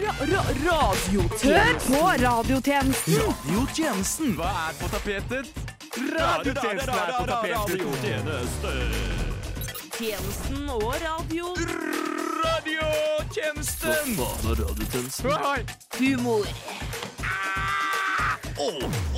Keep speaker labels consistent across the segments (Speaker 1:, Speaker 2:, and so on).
Speaker 1: ra
Speaker 2: Hør
Speaker 1: radiotjenesten.
Speaker 2: på radiotjenesten!
Speaker 1: Radiotjenesten.
Speaker 3: Hva er på tapetet?
Speaker 1: Radiotjenesten er på tapetet.
Speaker 3: Radiotjeneste.
Speaker 1: Tjenesten og radio.
Speaker 3: Radiotjenesten! Oi.
Speaker 1: Humor.
Speaker 3: Å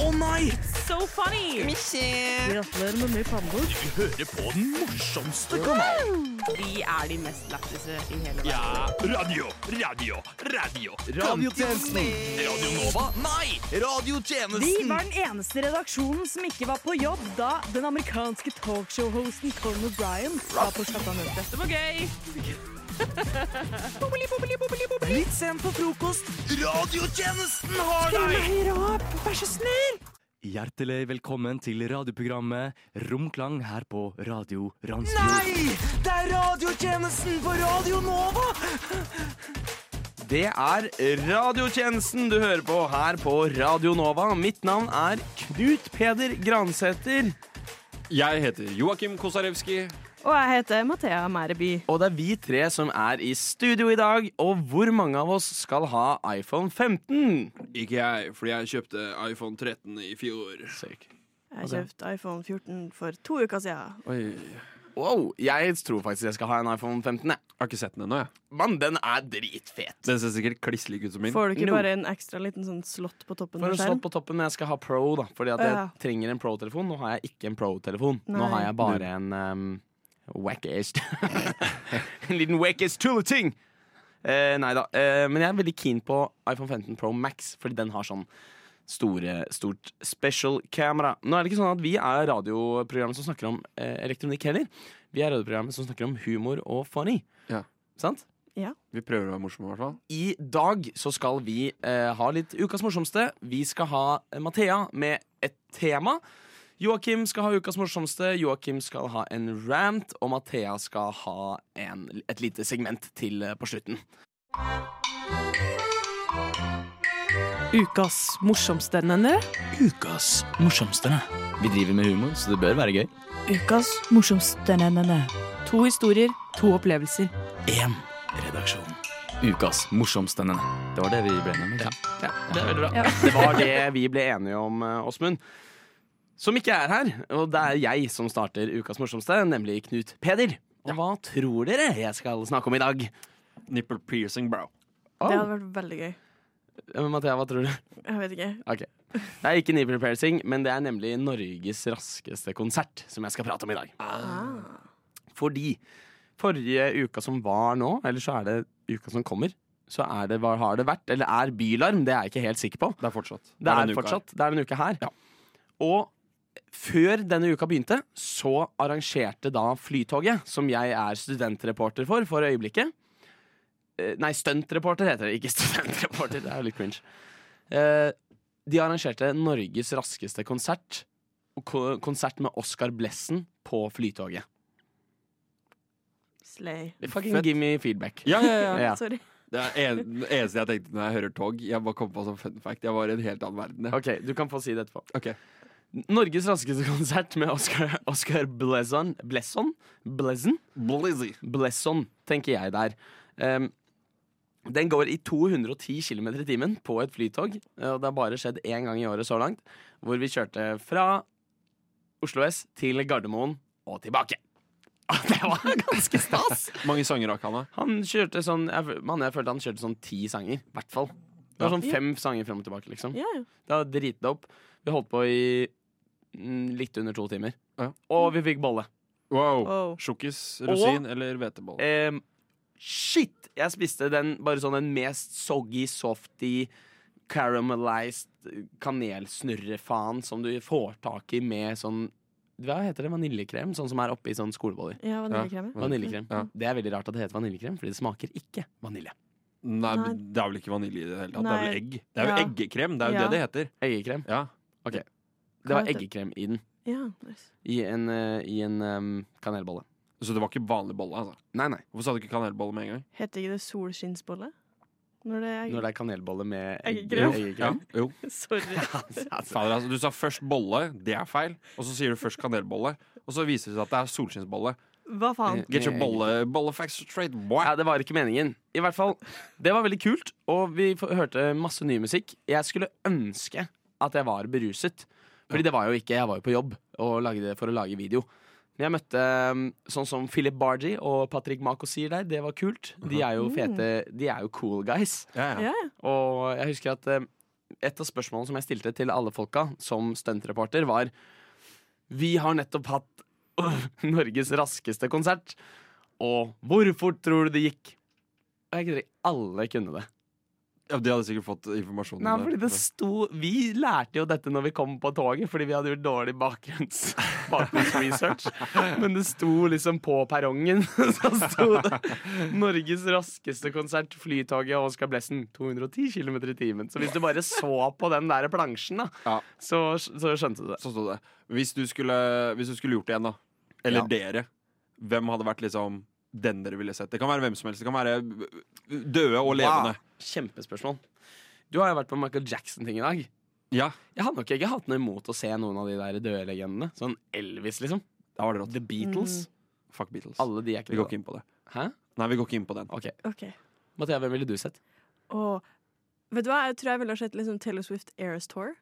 Speaker 3: å nei!
Speaker 1: So funny.
Speaker 2: Gratulerer med mye pannebord.
Speaker 3: Vi hører på den morsomste kanalen.
Speaker 1: Vi er de mest lættise i hele verden.
Speaker 3: Ja, radio, radio, radio.
Speaker 4: Radiotjenesten.
Speaker 3: Radio Nova? Nei!
Speaker 2: Vi
Speaker 3: Radiotjenesten!
Speaker 2: var den eneste redaksjonen som ikke var på jobb da den amerikanske talkshow-hosten Colin O'Brien var på skattamøte.
Speaker 1: Det var gøy.
Speaker 4: Litt sent på frokost.
Speaker 3: Radiotjenesten har deg!
Speaker 4: Hjertelig velkommen til radioprogrammet Romklang her på Radio Randsfjord.
Speaker 3: Nei! Det er radiotjenesten på Radio Nova!
Speaker 4: Det er radiotjenesten du hører på her på Radio Nova. Mitt navn er Knut Peder Gransæter.
Speaker 5: Jeg heter Joakim Kosarewski.
Speaker 2: Og jeg heter Mathea Mæreby.
Speaker 4: Og det er vi tre som er i studio i dag. Og hvor mange av oss skal ha iPhone 15?
Speaker 5: Ikke jeg, fordi jeg kjøpte iPhone 13 i fjor.
Speaker 6: Jeg kjøpte iPhone 14 for to uker siden.
Speaker 5: Oi, Jeg
Speaker 4: Wow, jeg tror faktisk jeg skal ha en iPhone 15. jeg.
Speaker 5: har ikke sett den ennå, jeg.
Speaker 4: Mann, den er dritfet.
Speaker 5: Den ser sikkert kliss lik ut som min.
Speaker 6: Får du ikke
Speaker 4: No.
Speaker 6: bare en ekstra liten sånn slott på toppen
Speaker 4: For
Speaker 6: av
Speaker 4: en slått
Speaker 6: skjerm?
Speaker 4: på toppen, men jeg skal ha Pro, da. Fordi at jeg
Speaker 6: Ja.
Speaker 4: trenger en Pro-telefon. Nå har jeg ikke en Pro-telefon. Nå
Speaker 6: Nei.
Speaker 4: har jeg bare en um, wackest. en liten wackest tulleting! Uh, nei da. Eh, men jeg er veldig keen på iPhone 15 Pro Max, fordi den har sånn store, stort special-kamera. Nå er det ikke sånn at vi er radioprogrammet som snakker om eh, elektronikk heller. Vi er radioprogrammet som snakker om humor og funny.
Speaker 5: Ja.
Speaker 4: Sant?
Speaker 5: Vi prøver å være morsomme, i hvert fall.
Speaker 4: I dag så skal vi eh, ha litt ukas morsomste. Vi skal ha eh, Mathea med et tema. Joakim skal ha ukas morsomste, Joakim skal ha en rant, og Mathea skal ha en, et lite segment til eh, på slutten.
Speaker 7: Ukas morsomste, nenne.
Speaker 4: Ukas morsomste. Vi driver med humor, så det bør være gøy.
Speaker 7: Ukas morsomste, nenne. To historier, to opplevelser.
Speaker 4: Én redaksjon. Ukas morsomste. Det var det vi ble enige om. Ja. det er veldig bra. Det var det vi ble enige om, eh, Åsmund. Som ikke er her, og det er jeg som starter ukas morsomste, nemlig Knut Peder. Og hva tror dere jeg skal snakke om i dag?
Speaker 5: Nipple piercing, bro.
Speaker 4: Oh.
Speaker 6: Det hadde vært veldig gøy.
Speaker 4: Eh, Mathea, hva tror du?
Speaker 6: Jeg vet ikke.
Speaker 4: Det er ikke nipple piercing, men det er nemlig Norges raskeste konsert som jeg skal prate om i dag.
Speaker 6: Ah,
Speaker 4: Fordi forrige uka som var nå, eller så er det uka som kommer, så er det, hva har det vært, eller er bylarm, det er jeg ikke helt sikker på.
Speaker 5: Det er fortsatt.
Speaker 4: Det er,
Speaker 5: denne uka her.
Speaker 4: fortsatt, det er en uke her. Og før denne uka begynte, så arrangerte da Flytoget, som jeg er studentreporter for for øyeblikket Eh, Nei, stuntreporter heter det, ikke studentreporter. Det er jo litt cringe. Eh, De arrangerte Norges raskeste konsert, og ko- konsert med Oscar Blessen på Flytoget.
Speaker 6: Slay.
Speaker 4: Fucking give me feedback.
Speaker 5: Ja, ja, ja.
Speaker 4: Ja.
Speaker 6: Sorry.
Speaker 5: Det er en, det eneste jeg tenkte når jeg hører tog. Jeg bare kom på som fun fact. Jeg var i en helt annen verden. jeg.
Speaker 4: OK, du kan få si det etterpå.
Speaker 5: Ok.
Speaker 4: Norges raskeste konsert med Oscar, Oscar Blesson Blesson? Blesson?
Speaker 5: Blizzy.
Speaker 4: Blesson, tenker jeg der. Ehm, den går i 210 km i timen på et flytog. Og det har bare skjedd én gang i året så langt, hvor vi kjørte fra Oslo S til Gardermoen og tilbake. Det var ganske stas!
Speaker 5: Mange sanger rakk han, da?
Speaker 4: Han kjørte sånn jeg, fø- mann, jeg følte han kjørte sånn ti sanger. I hvert fall. Det var sånn fem sanger fram og tilbake, liksom.
Speaker 6: Ja, ja.
Speaker 4: Det var dritdope. Vi holdt på i mm, litt under to timer.
Speaker 5: Ja.
Speaker 4: Og vi fikk bolle.
Speaker 5: Wow.
Speaker 6: Wow. Eh,
Speaker 5: Sjokkis, rosin eller hvetebolle?
Speaker 4: Ehm, shit! Jeg spiste den bare sånn den mest soggy, softy, caramelized kanelsnurrefaen som du får tak i med sånn Hva heter det? Vaniljekrem? Sånn som er oppi sånn skoleboller.
Speaker 6: Ja, vaniljekrem. ja.
Speaker 4: Vaniljekrem.
Speaker 5: Ja.
Speaker 4: Det er veldig rart at det heter vaniljekrem, fordi det smaker ikke vanilje.
Speaker 5: Nei,
Speaker 6: Nei.
Speaker 5: men det er vel ikke vanilje i det hele tatt. Det er
Speaker 6: Nei.
Speaker 5: vel egg. Det er jo
Speaker 6: Ja.
Speaker 5: eggekrem. Det er jo
Speaker 6: Ja.
Speaker 5: det det heter.
Speaker 4: Eggekrem.
Speaker 5: Ja.
Speaker 4: Det var
Speaker 6: heter det?
Speaker 4: eggekrem i den.
Speaker 6: Ja, nice.
Speaker 4: I en, eh, i en ehm, kanelbolle.
Speaker 5: Så det var ikke vanlig bolle, altså.
Speaker 4: Nei, nei.
Speaker 5: Hvorfor sa du ikke kanelbolle med en gang?
Speaker 6: Heter ikke det solskinnsbolle? Når det er
Speaker 4: Når det er kanelbolle med egg-
Speaker 6: Eggekrem.
Speaker 5: Ja,
Speaker 4: eggekrem.
Speaker 5: jo.
Speaker 6: Sorry.
Speaker 5: Fader, altså, du sa først bolle, det er feil. Og så sier du først kanelbolle, og så viser det seg at det er solskinnsbolle.
Speaker 6: Hva faen?
Speaker 5: Get your bolle, bollefacts straight, boy.
Speaker 4: Ja, det var ikke meningen. I hvert fall, Det var veldig kult, og vi f- hørte masse ny musikk. Jeg skulle ønske at jeg var beruset. Fordi det var jo ikke, jeg var jo på jobb og lagde, for å lage video. Men jeg møtte um, sånn som Philip Bargy og Patrick Mako sier der. Det var kult. De er jo fete, de er jo cool guys.
Speaker 5: Ja, ja.
Speaker 6: Ja, ja.
Speaker 4: Og jeg husker at eh, et av spørsmålene som jeg stilte til alle folka som stuntreporter, var Vi har nettopp hatt øh, Norges raskeste konsert, og hvor fort tror du det gikk? Og jeg gidder ikke alle kunne det.
Speaker 5: Ja, de hadde sikkert fått informasjon. om
Speaker 4: Nei,
Speaker 5: det.
Speaker 4: fordi det sto Vi lærte jo dette når vi kom på toget, fordi vi hadde gjort dårlig bakgrunns, bakgrunnsresearch. Men det sto liksom på perrongen. Så sto det 'Norges raskeste konsert, flytoget og Oscar Blessen'. 210 km i timen. Så hvis du bare så på den der plansjen, da,
Speaker 5: Ja.
Speaker 4: så, så skjønte du det.
Speaker 5: Så stod det. Hvis du skulle, hvis du skulle gjort det igjen, da. Eller dere. Hvem hadde vært liksom den dere ville sett? Det kan være hvem som helst. Det kan være øh, døde og levende.
Speaker 4: Kjempespørsmål. Du har jo vært på Michael Jackson-ting i dag.
Speaker 5: Ja,
Speaker 4: Jeg hadde nok ikke hatt noe imot å se noen av de der døde legendene. Sånn Elvis, liksom.
Speaker 5: da var det rått.
Speaker 4: The Beatles.
Speaker 5: Fuck Beatles.
Speaker 4: Alle de er
Speaker 5: Mm. Vi
Speaker 4: ikke
Speaker 5: går ikke inn på det.
Speaker 4: Hæ?
Speaker 5: Nei, vi går ikke inn på den.
Speaker 4: Ok.
Speaker 6: OK.
Speaker 4: Mathea, hvem ville du sett?
Speaker 6: Og vet du hva, jeg tror jeg ville ha sett liksom Taylor Swift Eras Tour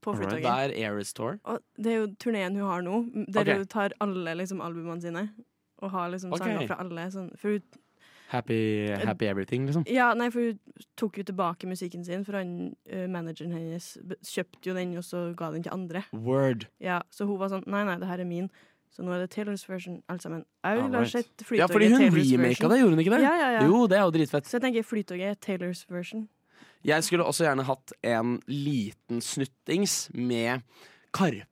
Speaker 6: på
Speaker 4: Det
Speaker 6: flytoget.
Speaker 4: er Eras Tour.
Speaker 6: Og det er jo turneen hun har nå, der
Speaker 4: Ok.
Speaker 6: hun tar alle liksom, albumene sine. Og har liksom
Speaker 4: Ok.
Speaker 6: sanger fra alle. Sånn. For hun,
Speaker 4: Happy, happy everything, liksom.
Speaker 6: ja, nei, for hun tok jo tilbake musikken sin, for han, eh, manageren hennes b- kjøpte jo den, og så ga den til andre.
Speaker 4: Word.
Speaker 6: Ja, så hun var sånn Nei, nei, det her er min. Så nå er det Taylors version, alt sammen. Jeg ville ha
Speaker 5: Alright.
Speaker 6: sett
Speaker 4: Ja,
Speaker 6: Flytoget
Speaker 4: fordi hun
Speaker 6: Taylors
Speaker 4: remaka
Speaker 6: version.
Speaker 4: det, gjorde hun ikke det?
Speaker 6: Ja, ja, ja.
Speaker 4: Jo, det er jo dritfett.
Speaker 6: Så jeg tenker Flytoget er Taylors version.
Speaker 4: Jeg skulle også gjerne hatt en liten snuttings med Karpe.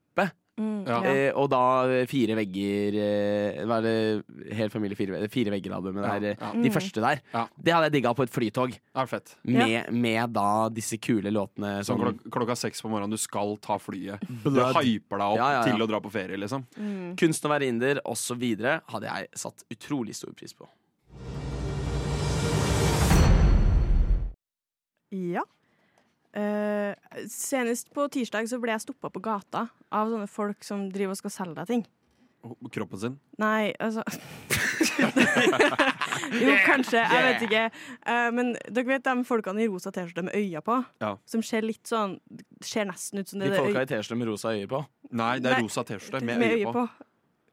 Speaker 6: Mm,
Speaker 5: Ja.
Speaker 6: ja.
Speaker 4: Eh, og da Fire vegger eh, Hva er det Helt familie Fire, vegger- fire vegger-albumet
Speaker 5: Ja,
Speaker 4: der. eh,
Speaker 6: Mm.
Speaker 5: ja.
Speaker 4: De første der.
Speaker 5: Ja.
Speaker 4: Det hadde jeg digga på et flytog.
Speaker 5: Det er fett.
Speaker 4: Med, med da disse kule låtene
Speaker 5: Sånn
Speaker 4: som
Speaker 5: klok klokka seks på morgenen, du skal ta flyet. Du
Speaker 4: Blood.
Speaker 5: hyper deg opp
Speaker 4: Ja, ja, ja.
Speaker 5: til å dra på ferie, liksom.
Speaker 6: Mm.
Speaker 4: Kunst å være inder osv. hadde jeg satt utrolig stor pris på.
Speaker 6: Ja. Eh, senest på tirsdag så ble jeg stoppa på gata av sånne folk som driver og skal selge deg ting.
Speaker 5: Kroppen sin.
Speaker 6: Nei, altså Jo, kanskje. Jeg vet ikke. Eh, men dere vet de folkene i rosa T-skjorte med øyne på?
Speaker 5: Ja.
Speaker 6: Som ser litt sånn Ser nesten ut som
Speaker 4: De
Speaker 6: det
Speaker 4: folka
Speaker 6: øy-
Speaker 4: i T-skjorte med rosa øye på.
Speaker 5: Nei, det er
Speaker 6: Nei.
Speaker 5: rosa T-skjorte med øye på.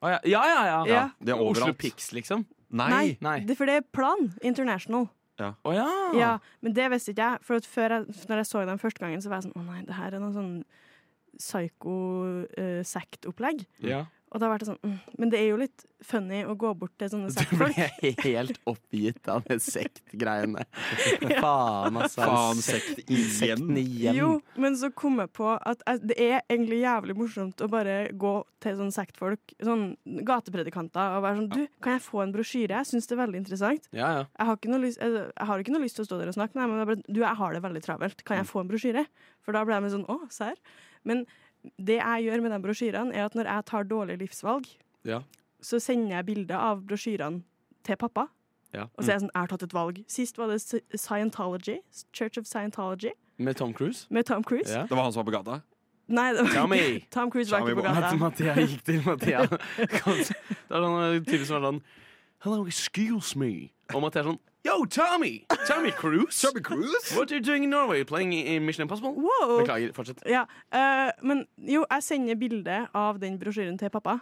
Speaker 4: Å ja. Ja, ja, ja!
Speaker 6: Ja.
Speaker 5: Det er
Speaker 4: Oslo
Speaker 5: overalt.
Speaker 4: Pix, liksom.
Speaker 5: Nei.
Speaker 6: Nei,
Speaker 4: Nei.
Speaker 6: Det, for det er Plan International.
Speaker 4: Å ja.
Speaker 6: Ja, Men det visste ikke jeg. For at før jeg, når jeg så dem første gangen, så var jeg sånn Å nei, det her er noe sånn psycho-sekt-opplegg.
Speaker 4: ja.
Speaker 6: Og da ble det sånn mm. Men det er jo litt funny å gå bort til sånne
Speaker 4: Du
Speaker 6: sektfolk.
Speaker 4: ble helt oppgitt av det sektgreiene. Faen, altså.
Speaker 5: Faen, sekt
Speaker 4: Sekten
Speaker 5: igjen.
Speaker 4: igjen.
Speaker 6: Jo, men så kom jeg på at jeg- det er egentlig jævlig morsomt å bare gå til sånne sektfolk, sånn gatepredikanter, og være sånn Du, kan jeg få en brosjyre? Jeg syns det er veldig interessant.
Speaker 4: Ja, ja.
Speaker 6: Jeg har ikke noe lyst, eller, jeg har ikke noe lyst til å stå der og snakke, nei, men jeg bare, du, jeg har det veldig travelt. Kan
Speaker 4: Mm.
Speaker 6: jeg få en brosjyre? For da ble jeg sånn Å, serr? Men det jeg gjør med de brosjyrene, er at når jeg tar dårlige livsvalg,
Speaker 4: Ja.
Speaker 6: så sender jeg bilder av brosjyrene til pappa.
Speaker 4: Ja. Mm.
Speaker 6: Og så er jeg sånn, jeg har tatt et valg. Sist var det Sci- Scientology, Church of Scientology,
Speaker 4: Med Tom Cruise?
Speaker 6: med Tom Cruise.
Speaker 4: Ja.
Speaker 5: Det var han som var på gata?
Speaker 6: Nei, det var
Speaker 4: Tommy!
Speaker 6: ikke Tom Cruise var
Speaker 5: Tommy
Speaker 6: ikke på
Speaker 5: Boy.
Speaker 6: gata.
Speaker 4: At Mathea gikk til Mathea. Kom- Det var sånn typisk som var sånn Hello, excuse me. Og Mathea sånn Yo, Tommy! Tommy Cruise? What are you doing in Norway? Playing i Mission Impossible?
Speaker 6: Wow.
Speaker 4: Beklager, fortsett.
Speaker 6: Ja, eh, men jo, jeg sender bilde av den brosjyren til pappa.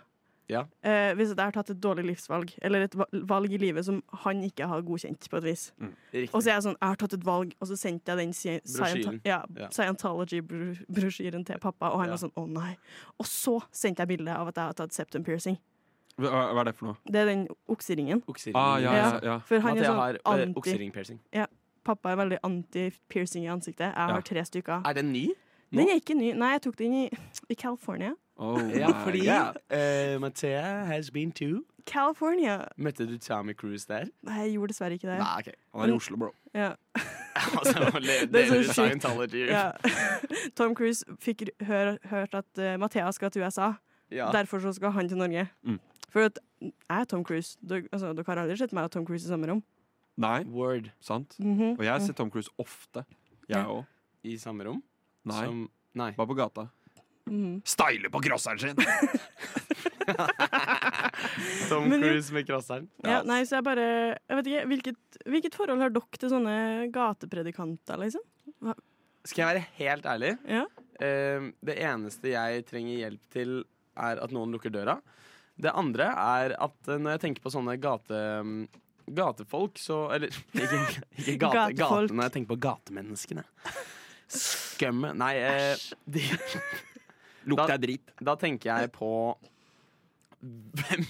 Speaker 4: Ja.
Speaker 6: Eh, hvis at jeg har tatt et dårlig livsvalg, eller et va- valg i livet som han ikke har godkjent. på et vis.
Speaker 4: Mm.
Speaker 6: Og så
Speaker 4: Riktig.
Speaker 6: er jeg sånn, jeg har tatt et valg, og så sendte jeg den sci-
Speaker 4: Brosjyren.
Speaker 6: scienta- ja,
Speaker 4: Ja.
Speaker 6: Scientology-brosjyren til pappa, og han
Speaker 4: Ja.
Speaker 6: var sånn å nei. Og så sendte jeg bilde av at jeg har tatt septum piercing.
Speaker 5: Hva hva er det for noe?
Speaker 6: Det er den okseringen.
Speaker 4: Oksering.
Speaker 5: Ah, ja, ja, ja.
Speaker 6: For han
Speaker 4: Mathea
Speaker 6: er
Speaker 4: har
Speaker 6: sånn
Speaker 4: eh,
Speaker 6: anti
Speaker 4: oksering-piercing.
Speaker 6: Pappa er veldig anti-piercing i ansiktet. Jeg
Speaker 5: Ja.
Speaker 6: har tre stykker.
Speaker 4: Er den ny? nå?
Speaker 6: Den er ikke ny. Nei, jeg tok den i, i California.
Speaker 5: Oh,
Speaker 4: Ja,
Speaker 5: my
Speaker 4: fordi
Speaker 5: God.
Speaker 4: eh, Mathea has been to
Speaker 6: California!
Speaker 4: Møtte du Tommy Cruise der?
Speaker 6: Nei, jeg gjorde dessverre ikke det.
Speaker 4: Nei, ok.
Speaker 5: Han er i Oslo, bro.
Speaker 6: Ja.
Speaker 4: Altså, le-
Speaker 6: Det er så
Speaker 4: deler
Speaker 6: sjukt.
Speaker 4: Scientology.
Speaker 6: Ja. Tom Cruise fikk r- hør, hørt at uh, Mathea skal til USA.
Speaker 4: Ja.
Speaker 6: Derfor så skal han til Norge.
Speaker 5: Mm.
Speaker 6: For at jeg er Tom Cruise. Dere, altså, dere har aldri sett meg og Tom Cruise i samme rom.
Speaker 5: Nei,
Speaker 4: Word
Speaker 5: sant?
Speaker 6: Mhm.
Speaker 5: Og jeg har sett Tom Cruise ofte. Jeg
Speaker 6: Ja.
Speaker 5: òg.
Speaker 4: i samme rom?
Speaker 5: Nei.
Speaker 4: Som, nei.
Speaker 5: Bare på gata.
Speaker 6: Mhm.
Speaker 5: Styler på crosseren sin!
Speaker 4: Tom
Speaker 6: Men jo-
Speaker 4: Cruise med crosseren.
Speaker 6: Ja, nei, så jeg bare Jeg vet ikke, hvilket, hvilket forhold har dere til sånne gatepredikanter, liksom?
Speaker 4: Skal jeg være helt ærlig?
Speaker 6: Ja.
Speaker 4: Eh, det eneste jeg trenger hjelp til, er at noen lukker døra. Det andre er at eh, når jeg tenker på sånne gate, mm, gatefolk, så Eller ikke, ikke gate,
Speaker 6: Gatefolk.
Speaker 4: gatene, jeg tenker på gatemenneskene. Skum Nei. eh, de,
Speaker 5: Lukter
Speaker 4: Da-
Speaker 5: jeg drit?
Speaker 4: da tenker jeg på hvem,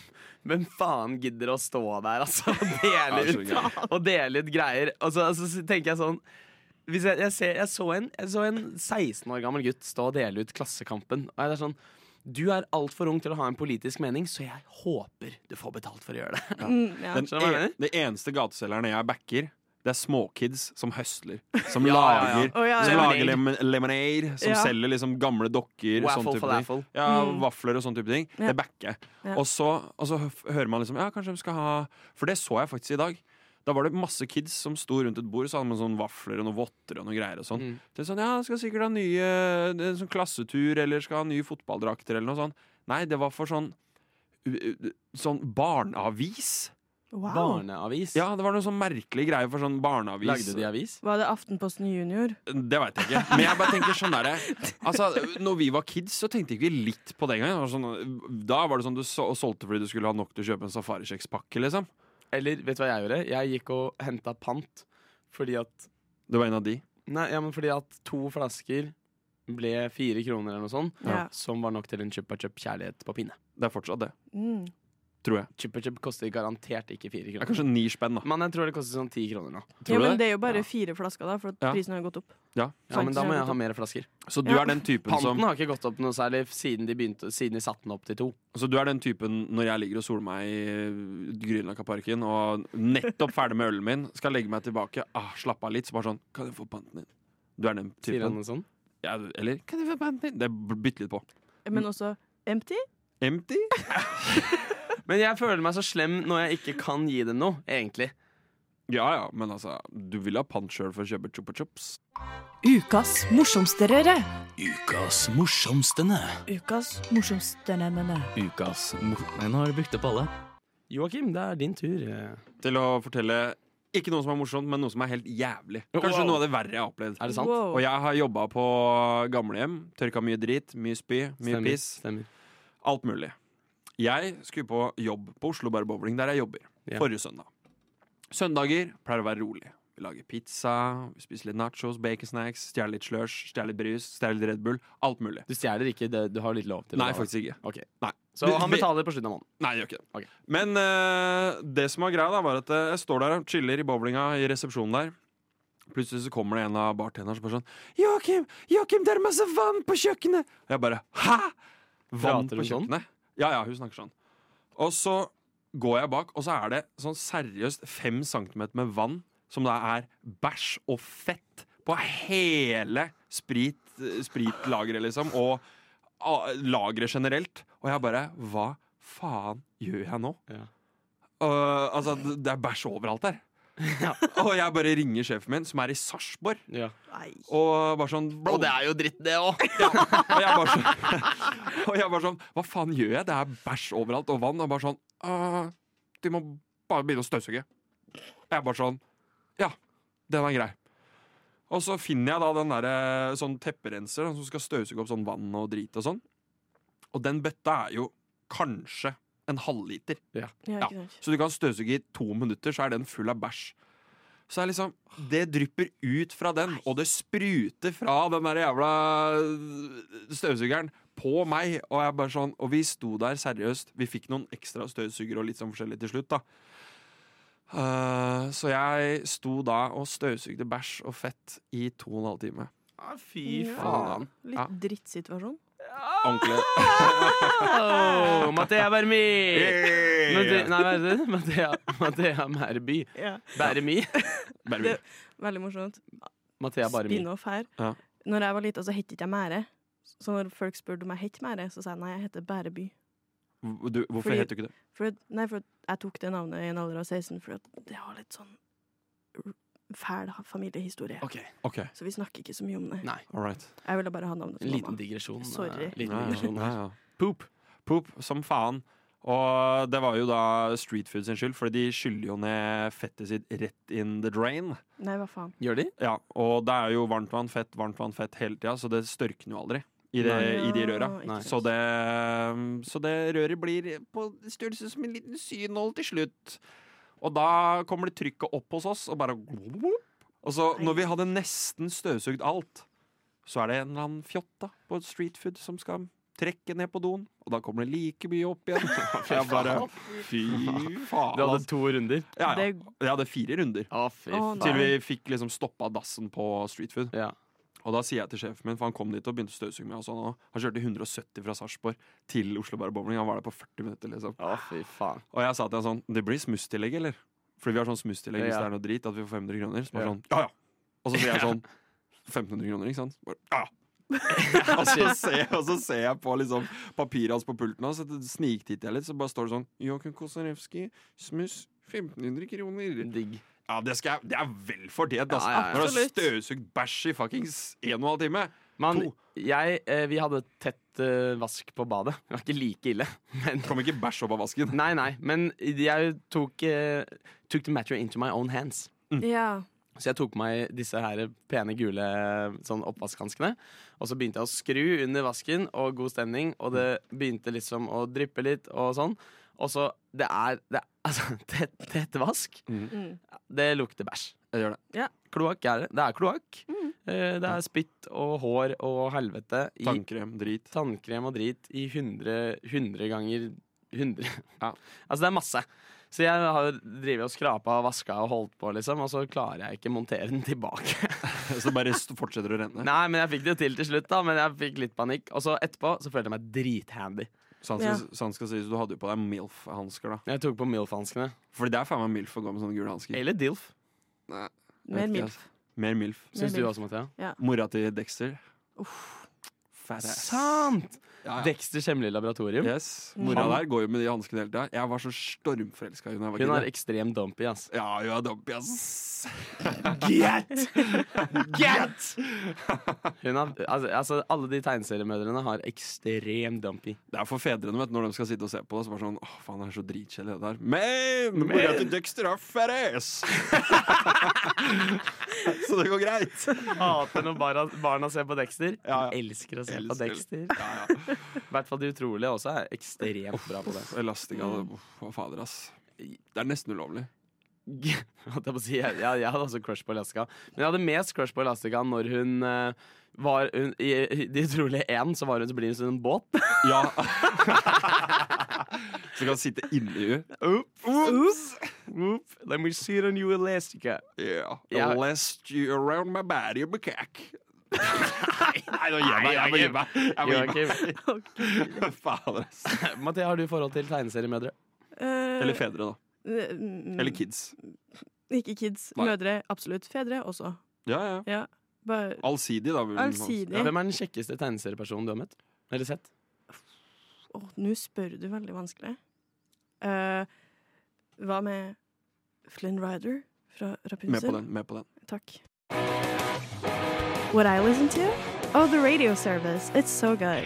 Speaker 4: hvem faen gidder å stå der altså, og,
Speaker 5: Ja,
Speaker 4: dele
Speaker 5: så gøy.
Speaker 4: ut, og dele ut greier? Og så, så tenker jeg sånn hvis jeg, jeg, ser, jeg, så en, jeg så en 16 år gammel gutt stå og dele ut Klassekampen. Og jeg er sånn Du er altfor ung til å ha en politisk mening, så jeg håper du får betalt for å gjøre det.
Speaker 6: Mm, ja.
Speaker 5: Den
Speaker 4: Skjønner du hva jeg
Speaker 5: en,
Speaker 4: mener?
Speaker 5: det eneste gateselgerne jeg backer, det er småkids som høsler. Som
Speaker 4: Ja, ja, ja.
Speaker 5: lager,
Speaker 6: Å, ja,
Speaker 5: Som
Speaker 6: ja.
Speaker 5: lager lemonade, lemonade som
Speaker 6: Ja.
Speaker 5: selger liksom gamle dokker. sånn
Speaker 4: Waffle
Speaker 5: type
Speaker 4: for
Speaker 5: ting.
Speaker 4: laffle.
Speaker 5: Ja,
Speaker 6: Mm.
Speaker 5: Vafler og sånne type ting.
Speaker 6: Ja.
Speaker 5: Det backer jeg.
Speaker 6: Ja.
Speaker 5: Og, så, og så høf- hører man liksom Ja, kanskje de skal ha For det så jeg faktisk i dag. Da var det masse kids som sto rundt et bord, så hadde man sånn vafler og noen votter og noen greier. og sånn.
Speaker 4: Mm.
Speaker 5: Det er sånn, ja, skal sikkert ha nye det er en sånn klassetur, eller skal ha nye fotballdrakter, eller noe sånt. Nei, det var for sånn u- u- Sånn barneavis.
Speaker 6: Wow.
Speaker 4: Barneavis.
Speaker 5: Ja, det var noen sånn merkelige greier for sånn barneavis.
Speaker 4: Lagde de avis?
Speaker 6: Var det Aftenposten Junior?
Speaker 5: Det veit jeg ikke. Men jeg bare tenker sånn derre Altså, når vi var kids, så tenkte ikke vi litt på det engang. Det var Sånn, da var det sånn du så, solgte fordi du skulle ha nok til å kjøpe en safarikjekspakke, liksom.
Speaker 4: Eller vet du hva jeg gjorde? Jeg gikk og henta pant fordi at
Speaker 5: Det var en av de.
Speaker 4: Nei, ja, men fordi at to flasker ble fire kroner eller noe sånt,
Speaker 6: Ja.
Speaker 4: som var nok til en chupa chup kjærlighet på pinne.
Speaker 5: Det er fortsatt det,
Speaker 6: Mm.
Speaker 5: tror jeg.
Speaker 4: Chupa chup koster garantert ikke fire
Speaker 5: Det er
Speaker 4: kroner.
Speaker 5: kanskje ni spenn, da.
Speaker 4: Men jeg tror det koster sånn ti kroner nå.
Speaker 5: Tror
Speaker 6: Ja,
Speaker 5: du det?
Speaker 6: men det er jo bare
Speaker 4: Ja.
Speaker 6: fire flasker, da, for at
Speaker 5: Ja.
Speaker 6: prisen har gått opp.
Speaker 5: Ja.
Speaker 4: Ja, men da må
Speaker 6: Faktisk, jeg
Speaker 4: jeg
Speaker 6: vet
Speaker 4: ha mer flasker.
Speaker 5: Så du
Speaker 6: Ja.
Speaker 5: er den typen som
Speaker 4: Panten har ikke gått opp noe særlig siden de, begynte, siden de satte den opp til to.
Speaker 5: Så du er den typen når jeg ligger og soler meg i Grünerløkkaparken og nettopp ferdig med ølen min, skal legge meg tilbake, ah, slappe av litt, så bare sånn Kan jeg få panten din? Du er den
Speaker 4: Sier han sånn.
Speaker 5: typen.
Speaker 4: noe sånt.
Speaker 5: Ja, eller Kan jeg få panten din? Det b- bytter litt på. Mm.
Speaker 6: Men også empty?
Speaker 5: Empty?
Speaker 4: Men jeg føler meg så slem når jeg ikke kan gi dem noe, egentlig.
Speaker 5: Ja ja, men altså, du vil ha pant sjøl for å kjøpe chupa chups.
Speaker 7: Ukas morsomsterere.
Speaker 8: Ukas morsomstene.
Speaker 7: Ukas morsomsterene.
Speaker 8: Ukas mor... Nei, nå har du brukt opp alle.
Speaker 4: Joakim, det er din tur. Er
Speaker 5: Til å fortelle ikke noe som er morsomt, men noe som er helt jævlig. Kanskje
Speaker 4: Wow.
Speaker 5: noe av det verre jeg har opplevd.
Speaker 4: det sant?
Speaker 6: Wow.
Speaker 5: Og jeg har jobba på gamlehjem. Tørka mye drit, mye spy, mye
Speaker 4: Stemmer,
Speaker 5: piss.
Speaker 4: Stemmer.
Speaker 5: Alt mulig. Jeg skulle på jobb på Oslo Bar Bowling, der jeg jobber.
Speaker 4: Ja.
Speaker 5: Forrige søndag. Søndager pleier å være rolig. Vi lager pizza, vi spiser litt nachos, baconsnacks, stjeler litt slush, stjeler litt brus, stjeler litt Red Bull. Alt mulig.
Speaker 4: Du stjeler ikke, det, du har litt lov til
Speaker 5: Nei,
Speaker 4: det.
Speaker 5: faktisk ikke.
Speaker 4: Ok.
Speaker 5: Nei.
Speaker 4: Så
Speaker 5: Vi-
Speaker 4: han
Speaker 5: vi-
Speaker 4: betaler på slutten av måneden.
Speaker 5: Nei, det gjør ikke det.
Speaker 4: Ok.
Speaker 5: Men eh, det som var greia, da, var at eh, jeg står der og chiller i bowlinga i resepsjonen der. Plutselig så kommer det en av bartenderne som bare sånn 'Joakim, Joakim, det er masse vann på kjøkkenet!' Og jeg bare 'Hæ?! Vann
Speaker 4: Prater
Speaker 5: på
Speaker 4: hun sånn?
Speaker 5: kjøkkenet? Ja, ja, hun snakker sånn. Og så går jeg bak, og så er det sånn seriøst fem centimeter med vann som da er bæsj og fett på hele sprit, spritlageret, liksom. Og ah, lageret generelt. Og jeg bare Hva faen gjør jeg nå?
Speaker 4: Ja.
Speaker 5: Øh, altså, det det er bæsj overalt der. og jeg bare ringer sjefen min, som er i Sarpsborg,
Speaker 4: Ja.
Speaker 5: og bare sånn
Speaker 4: Og det er jo dritt, det òg!
Speaker 5: og jeg bare sånn, og jeg bare sånn Hva faen gjør jeg? Det er bæsj overalt og vann. Og bare sånn «Øh, Du må bare begynne å støvsuge. Jeg er bare sånn Ja, den er grei. Og så finner jeg da den derre sånn tepperenser som skal støvsuge opp sånn vann og drit og sånn. Og den bøtta er jo kanskje en halvliter.
Speaker 6: Ja,
Speaker 5: Ja.
Speaker 6: ikke sant.
Speaker 5: Så du kan støvsuge i to minutter, så er den full av bæsj. Så er liksom, Det drypper ut fra den, og det spruter fra den der jævla øh, støvsugeren på meg. Og jeg bare sånn, og vi sto der seriøst. Vi fikk noen ekstra støvsugere og litt sånn forskjellig til slutt. da. Eh, så jeg sto da og støvsugde bæsj og fett i to og en halv time.
Speaker 4: Fy
Speaker 6: Ja.
Speaker 4: faen.
Speaker 6: Litt
Speaker 5: Ja.
Speaker 6: drittsituasjon.
Speaker 5: Ordentlig.
Speaker 4: Oh, Mathea Bermi! Mathe- Nei, hva er det? Mathea, Mathea Merby.
Speaker 6: Ja.
Speaker 4: Bermi.
Speaker 5: Bare
Speaker 6: Det- Veldig morsomt.
Speaker 4: Mathea Barmi.
Speaker 6: Spin-off her.
Speaker 5: Ja.
Speaker 6: Når jeg var lita, så het ikke jeg Mære. Så når folk spurte om jeg het Mære, så sa jeg nei, jeg heter Bæreby.
Speaker 5: vi- Du, hvorfor
Speaker 6: Fordi-
Speaker 5: het du ikke det?
Speaker 6: For, at- nei, for at jeg tok det navnet i en alder av 16 fordi at det har litt sånn r- fæl ha- familiehistorie.
Speaker 4: Ok,
Speaker 5: OK,
Speaker 6: Så vi snakker ikke så mye om det.
Speaker 4: Nei.
Speaker 5: all right.
Speaker 6: Jeg ville bare ha navnet til
Speaker 4: En liten
Speaker 6: mamma.
Speaker 4: digresjon. eh,
Speaker 6: Sorry.
Speaker 4: Liten
Speaker 5: Ja, ja,
Speaker 4: digresjon.
Speaker 5: ja, ja.
Speaker 4: Poop.
Speaker 5: Poop som faen. Og det var jo da Street Food sin skyld, for de skyller jo ned fettet sitt rett in the drain.
Speaker 6: Nei, hva faen.
Speaker 4: Gjør de?
Speaker 5: Ja, Og det er jo varmtvann, fett, varmtvann, fett hele tida, så det størkner jo aldri i, det,
Speaker 6: Nei.
Speaker 5: i de røra.
Speaker 6: Ja, ikke
Speaker 5: Så det, så det røret blir på størrelse som en liten synål til slutt. Og da kommer det trykket opp hos oss, og bare Og så, når vi hadde nesten støvsugd alt, så er det en eller annen fjott da på et street food som skal trekke ned på doen, og da kommer det like mye opp igjen. For jeg bare Fy faen.
Speaker 4: Du hadde
Speaker 5: altså.
Speaker 4: to runder?
Speaker 5: Ja, ja.
Speaker 6: Det-
Speaker 5: Jeg hadde fire runder.
Speaker 4: Å, fy
Speaker 6: Å,
Speaker 5: Til
Speaker 6: nei.
Speaker 5: vi fikk liksom stoppa dassen på street food.
Speaker 4: Ja.
Speaker 5: Og da sier jeg til sjefen min, for han kom dit og begynte å støvsuge med oss. og Han, han kjørte 170 fra Sarpsborg til Oslo Bare Bowling. Han var der på 40 minutter, liksom.
Speaker 4: Å, fy faen.
Speaker 5: Og jeg sa til han sånn Det blir smusstillegg, eller? Fordi vi har sånn smusstillegg hvis
Speaker 4: Ja.
Speaker 5: det er noe drit, at vi får 500 kroner. Så bare
Speaker 4: Ja.
Speaker 5: sånn, ja, ja. Og så sier jeg sånn 1500 kroner, ikke sant? Bare, ja, ja. og, så ser, jeg- og så ser jeg på liksom papiret hans på pulten hans, så sniktitter jeg litt, så bare står det sånn Joakim Kosarewski, smuss 1500 kroner.
Speaker 4: Digg.
Speaker 5: Ja, det, skal jeg, det er vel fortjent, altså.
Speaker 4: Ja, ja, ja.
Speaker 5: Når du har støvsugd bæsj i fuckings en og en halv time.
Speaker 4: Men
Speaker 5: To.
Speaker 4: jeg, eh, vi hadde tett eh, vask på badet. Det var ikke like ille. Men,
Speaker 5: Kom ikke bæsj opp av vasken.
Speaker 4: nei, nei, men jeg tok eh, Took the matter into my own hands.
Speaker 5: Mm.
Speaker 6: Ja.
Speaker 4: Så jeg tok på meg disse her pene gule sånn oppvaskhanskene. Og så begynte jeg å skru under vasken, og god stemning. Og det begynte liksom å dryppe litt, og sånn. Og så Det er, det er altså, tett, tett vask.
Speaker 6: Mm.
Speaker 4: Det lukter bæsj.
Speaker 5: Jeg gjør det.
Speaker 4: Kloakk er det. Det er kloakk. Eh, Det er spytt og hår og helvete i
Speaker 5: Tannkrem, drit.
Speaker 4: tannkrem og drit i 100, 100 ganger 100.
Speaker 5: Ja.
Speaker 4: altså, det er masse. Så jeg har drevet og skrapa og vaska og holdt på, liksom, og så klarer jeg ikke montere den tilbake.
Speaker 5: Så det bare st- fortsetter å renne.
Speaker 4: Nei, men jeg fikk det til til slutt, da, men jeg fikk litt panikk. Og så etterpå så følte jeg meg drithandy.
Speaker 5: Så han Sånn skal, så han skal sies, du hadde jo på deg MILF-hansker, da.
Speaker 4: Jeg tok på MILF-hanskene.
Speaker 5: Fordi det er faen meg MILF å gå med sånne gule hansker.
Speaker 4: Eller DILF,
Speaker 6: Mer
Speaker 5: Vet ikke,
Speaker 6: milf.
Speaker 5: altså. Mer MILF.
Speaker 4: syns
Speaker 6: Mer
Speaker 4: du
Speaker 6: MILF.
Speaker 4: også, Mathea.
Speaker 5: Mora til Dexter. Fat ass.
Speaker 4: Sant!
Speaker 5: Ja, ja.
Speaker 4: Dexters hemmelige laboratorium.
Speaker 5: Yes. Mora
Speaker 4: Han-
Speaker 5: der går jo med de hanskene hele tida. Jeg var så stormforelska i henne. da jeg
Speaker 4: Hun
Speaker 5: var
Speaker 4: er
Speaker 5: kid.
Speaker 4: ekstrem dumpy, ass.
Speaker 5: Ja, hun er dumpy, ass.
Speaker 4: Hun er, altså, altså, alle de tegneseriemødrene har ekstrem dumpy.
Speaker 5: Det er for fedrene vet, du, når de skal sitte og se på det. Så bare sånn, åh faen, det er så dritkjedelig det der. Men mora til Dexter har ferres! så det går greit.
Speaker 4: Hater når barna, barna ser på Dexter.
Speaker 5: Ja, ja.
Speaker 4: Elsker å se på
Speaker 5: Elsker.
Speaker 4: Dexter.
Speaker 5: Ja, ja.
Speaker 4: I hvert fall de utrolige også er ekstremt bra på det.
Speaker 5: Elastica, det- uff, hva fader, ass. Det er nesten ulovlig.
Speaker 4: Holdt jeg, på å si, jeg, jeg, jeg hadde også crush på Elastica. Men jeg hadde mest crush på Elastica når hun eh, var hun, I i De utrolige én så var hun så blid som en båt.
Speaker 5: Ja. så kan sitte inni henne.
Speaker 4: Oops. Oop. Let me see it on you, Elastica.
Speaker 5: Yeah.
Speaker 4: Ja.
Speaker 5: Lest you around my body of a cack. Nei, nå gir jeg meg. Jeg må gi meg. Jeg må gi meg.
Speaker 4: Joakim.
Speaker 5: Fader, ass.
Speaker 4: Mathea, har du forhold til tegneseriemødre?
Speaker 6: Eh,
Speaker 5: Eller fedre, da.
Speaker 6: mm,
Speaker 5: Eller kids.
Speaker 6: Ikke kids.
Speaker 5: Nei.
Speaker 6: Mødre, absolutt. Fedre også.
Speaker 5: Ja, ja.
Speaker 6: Ja. Bare
Speaker 5: Allsidig, da. vil man si.
Speaker 6: allsidig.
Speaker 4: Hvem er den kjekkeste tegneseriepersonen du har møtt? Eller sett?
Speaker 6: Åh, Nå spør du veldig vanskelig. Eh, hva med Flynn Ryder fra
Speaker 5: Med på
Speaker 6: Rapunzel?
Speaker 5: den. Med på den.
Speaker 6: Takk. What I listen to? Oh, the radio service. It's so good.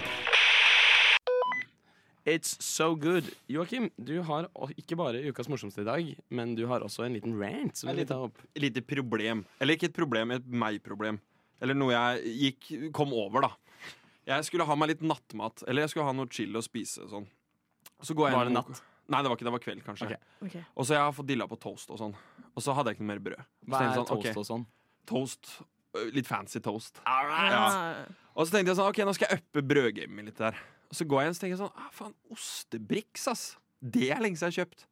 Speaker 4: It's so good. Joakim, du har o- ikke bare ukas morsomste i dag, men du har også en liten rant. Som
Speaker 5: En
Speaker 4: vi
Speaker 5: liten-
Speaker 4: tar opp.
Speaker 5: lite problem. Eller ikke et problem, et meg-problem. Eller noe jeg gikk, kom over, da. Jeg skulle ha meg litt nattmat. Eller jeg skulle ha noe chill å spise. Sånn. Så går jeg
Speaker 4: Var det
Speaker 5: inn-
Speaker 4: natt?
Speaker 5: Nei, det var ikke det. var kveld, kanskje.
Speaker 4: Ok.
Speaker 6: Ok.
Speaker 5: Og så jeg har fått dilla på toast og sånn. Og så hadde jeg ikke noe mer brød. Så
Speaker 4: Hva
Speaker 5: tenkte
Speaker 4: er
Speaker 5: jeg sånn,
Speaker 4: toast
Speaker 5: ok,
Speaker 4: og sånn?
Speaker 5: toast? øh, Litt fancy toast.
Speaker 6: Ah.
Speaker 5: Og så tenkte jeg sånn, ok, nå skal jeg uppe brødgamet mitt litt der. Og så går jeg inn og tenker jeg sånn, ah, faen, ostebriks, ass. Det er lenge siden jeg har kjøpt.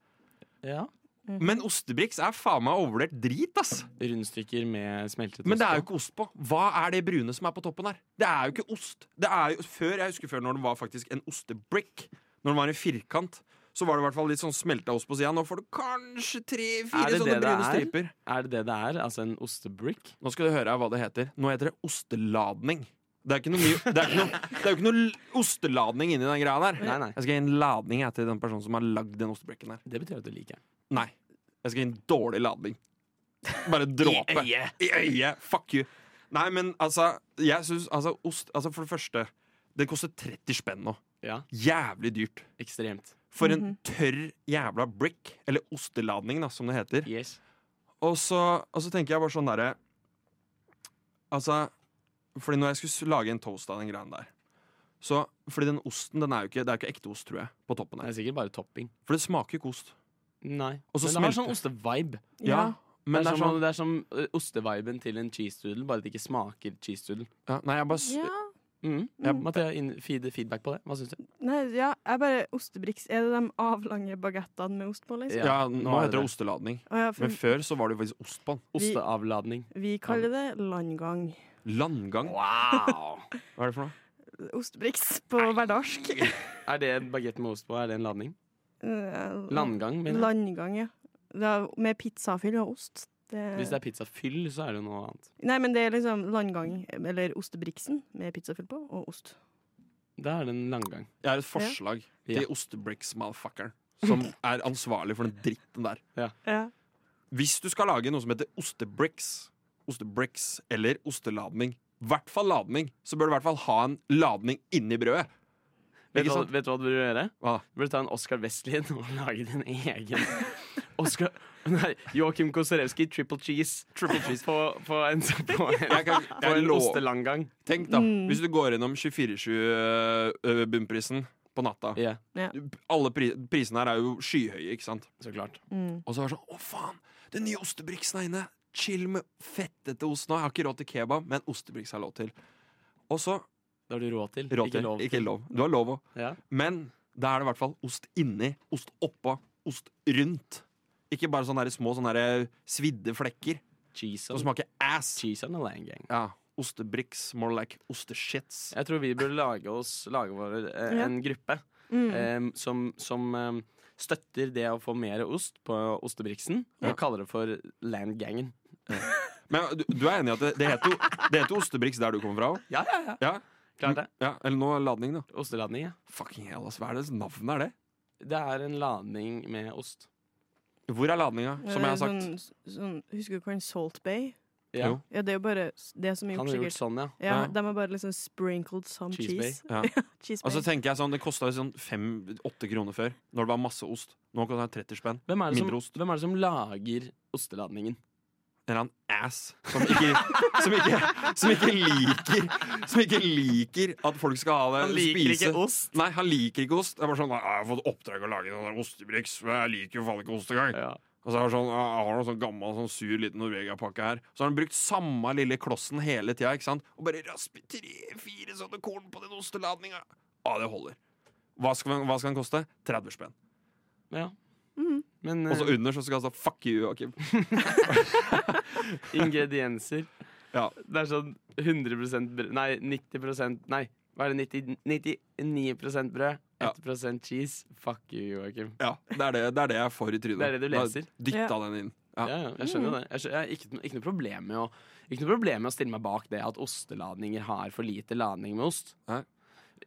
Speaker 4: Ja.
Speaker 5: Men ostebriks er faen meg overvurdert drit, ass.
Speaker 4: Rundstykker med smeltet
Speaker 5: Men det er jo
Speaker 4: ost på.
Speaker 5: ikke ost på. Hva er det brune som er på toppen her? Det er jo ikke ost. Det er jo, før, jeg husker før når det var faktisk en ostebrick, når det var en firkant, så var det i hvert fall litt sånn smelta ost på sida. Nå får du kanskje
Speaker 4: Er
Speaker 5: tre-fire
Speaker 4: det
Speaker 5: sånne
Speaker 4: det det
Speaker 5: brune
Speaker 4: er?
Speaker 5: striper.
Speaker 4: Er det det det er? Altså en ostebrick?
Speaker 5: Nå skal du høre her hva det heter. Nå heter det osteladning. Det er, ikke noe mye, det, er ikke noe, det er jo ikke noe l- osteladning inni den greia der.
Speaker 4: Nei, nei.
Speaker 5: Jeg skal gi en ladning jeg, til den personen som har lagd den ostebricken her.
Speaker 4: Det betyr at du liker den.
Speaker 5: Nei. Jeg skal gi en dårlig ladning. Bare en dråpe.
Speaker 4: Eh,
Speaker 5: I øyet. Fuck you. Nei, men altså, jeg synes, altså, ost, altså For det første, det koster 30 spenn nå.
Speaker 4: Ja.
Speaker 5: Jævlig dyrt.
Speaker 4: Ekstremt.
Speaker 5: For
Speaker 6: Mhm.
Speaker 5: en tørr jævla brick, eller osteladning, da, som det heter.
Speaker 4: Yes.
Speaker 5: Og så, og så tenker jeg bare sånn derre Altså Fordi når jeg skulle s- lage en toast av den greia der så, Fordi den osten, den er jo ikke, det er jo ikke ekte ost, tror jeg, på toppen
Speaker 4: Det
Speaker 5: her.
Speaker 4: er sikkert bare topping.
Speaker 5: For det smaker jo ikke ost.
Speaker 4: Nei.
Speaker 5: Og så
Speaker 4: Men det har
Speaker 5: smelter.
Speaker 4: sånn ostevibe.
Speaker 5: Ja, men
Speaker 4: det er, sånn, det er som eh, osteviben til en cheese doodle, bare at det ikke smaker cheese doodle.
Speaker 5: ja, Nei, jeg bare s-
Speaker 6: Ja.
Speaker 4: Mm.
Speaker 6: Ja.
Speaker 4: Mathea, inn- feed, feedback på det. Hva syns du?
Speaker 6: Nei, ja, jeg bare Ostebriks. Er det de avlange bagettene med ost på, liksom?
Speaker 5: Ja,
Speaker 4: nå
Speaker 5: nå
Speaker 4: er
Speaker 5: heter det
Speaker 4: det.
Speaker 5: osteladning.
Speaker 6: Å ja, for
Speaker 5: Men før så var det jo faktisk ost på den.
Speaker 4: Osteavladning.
Speaker 6: vi kaller det landgang.
Speaker 5: Landgang.
Speaker 4: Wow!
Speaker 5: Hva er det for noe?
Speaker 6: Ostebriks på hverdagsk.
Speaker 4: er det en bagett med ost på? Er det en ladning?
Speaker 6: Eh,
Speaker 4: Landgang, mener jeg.
Speaker 6: Landgang, ja. Det er med pizzafyll og ost.
Speaker 4: Hvis det er pizzafyll, så er det noe annet.
Speaker 6: Nei, men det er liksom landgang, eller ostebriksen med pizzafyll på, og ost.
Speaker 4: Da er det en langgang.
Speaker 5: Jeg har et forslag
Speaker 4: Ja.
Speaker 5: til ostebricks-motherfuckeren, som er ansvarlig for den dritten der.
Speaker 6: Ja.
Speaker 5: Hvis du skal lage noe som heter ostebricks, ostebricks eller osteladning, i hvert fall ladning, så bør du i hvert fall ha en ladning inni brødet.
Speaker 4: Vet du,
Speaker 5: Ikke
Speaker 4: hva,
Speaker 5: sant?
Speaker 4: vet du hva du burde gjøre?
Speaker 5: Hva da?
Speaker 4: Du burde ta en Oscar Westlien og lage din egen Oscar Nei, Joakim Kosarewski, triple cheese. Triple cheese På, på en, på en,
Speaker 5: Jeg kan,
Speaker 4: på
Speaker 5: jeg
Speaker 4: en
Speaker 5: lov-
Speaker 4: ostelandgang.
Speaker 5: Tenk da, hvis du går innom 24-7-bunnprisen eh, på natta
Speaker 4: Ja,
Speaker 5: Alle pri prisene her er jo skyhøye, ikke sant?
Speaker 4: så klart.
Speaker 5: Og så er det sånn, å faen, den nye ostebriksen er inne Chill med fettete ost nå Jeg har ikke råd til kebab, men ostebriks har jeg lov til Og så,
Speaker 4: Det har du råd til.
Speaker 5: råd til,
Speaker 4: ikke lov.
Speaker 5: ikke lov Du har lov også
Speaker 4: Ja.
Speaker 5: Men da er det i hvert fall ost inni, ost oppå, ost rundt. Ikke bare sånne der små sånne der eh, svidde flekker
Speaker 4: Cheese
Speaker 5: som
Speaker 4: on,
Speaker 5: smaker ass.
Speaker 4: cheese on a landgang.
Speaker 5: Ja, Ostebricks, more like osteshits.
Speaker 4: Jeg tror vi burde lage oss lage vår, eh, en gruppe
Speaker 6: Mm.
Speaker 4: eh, som, som eh, støtter det å få mer ost på ostebriksen, og
Speaker 5: Ja.
Speaker 4: kaller det for landgangen.
Speaker 5: Men du, du er enig i at det, det heter jo det heter Ostebricks der du kommer fra òg?
Speaker 4: Ja, ja, ja.
Speaker 5: Ja.
Speaker 4: Klart det.
Speaker 5: ja, eller nå ladning, da.
Speaker 4: Osteladning, ja.
Speaker 5: Fucking hell, ass. Hva er det navnet er det?
Speaker 4: Det er en ladning med ost.
Speaker 5: Hvor er ladninga, som jeg har sagt?
Speaker 6: Sånn, sånn, husker du hva en Salt Bay?
Speaker 4: Ja.
Speaker 5: Jo.
Speaker 6: Ja, det er jo bare s- det som er
Speaker 4: Han
Speaker 6: gjort,
Speaker 4: har gjort
Speaker 6: sikkert.
Speaker 4: sånn, ja.
Speaker 6: Ja,
Speaker 5: ja.
Speaker 6: De har bare liksom sprinkled some
Speaker 4: Cheese
Speaker 6: cheese.
Speaker 5: Ja.
Speaker 6: Cheese
Speaker 5: Og
Speaker 6: bay.
Speaker 5: så tenker jeg sånn, Det kosta sånn fem-åtte kroner før, når det var masse ost. Nå kan det være 30 spenn.
Speaker 4: Hvem er, det
Speaker 5: Mindre
Speaker 4: som,
Speaker 5: ost.
Speaker 4: hvem er det som lager osteladningen?
Speaker 5: en eller annen ass som ikke, som ikke, som ikke liker Som ikke liker at folk skal ha det spise.
Speaker 4: ost.
Speaker 5: Nei, han liker ikke ost. Det er bare sånn, «Nei, Jeg har fått oppdrag å lage noen ostebriks, men jeg liker jo faen ikke ost engang.
Speaker 4: Ja.
Speaker 5: Og så er det sånn, jeg har noen sånn gammel, sånn sur liten Norvegia-pakke her. Så har han brukt samme lille klossen hele tida, ikke sant? Og bare rasper tre-fire sånne korn på den osteladninga. Ja, det holder. Hva skal, hva skal den koste? 30 spenn.
Speaker 4: Ja. Men
Speaker 5: Og så
Speaker 4: eh,
Speaker 5: under så skal han stå 'fuck you', Joakim.
Speaker 4: ingredienser
Speaker 5: Ja.
Speaker 4: Det er sånn 100 brød Nei, 90 Nei, hva er det? 90, 99 brød, 1 cheese. Fuck you, Joakim.
Speaker 5: Ja, det er det, det er det jeg får i trynet.
Speaker 4: Det er det du
Speaker 5: Da
Speaker 4: leser.
Speaker 5: Dytta den inn. Ja.
Speaker 4: Ja, ja, jeg skjønner jo det. Jeg skjø- jeg har ikke, no- ikke, noe problem med å, ikke noe problem med å stille meg bak det at osteladninger har for lite ladning med ost.
Speaker 5: Nei.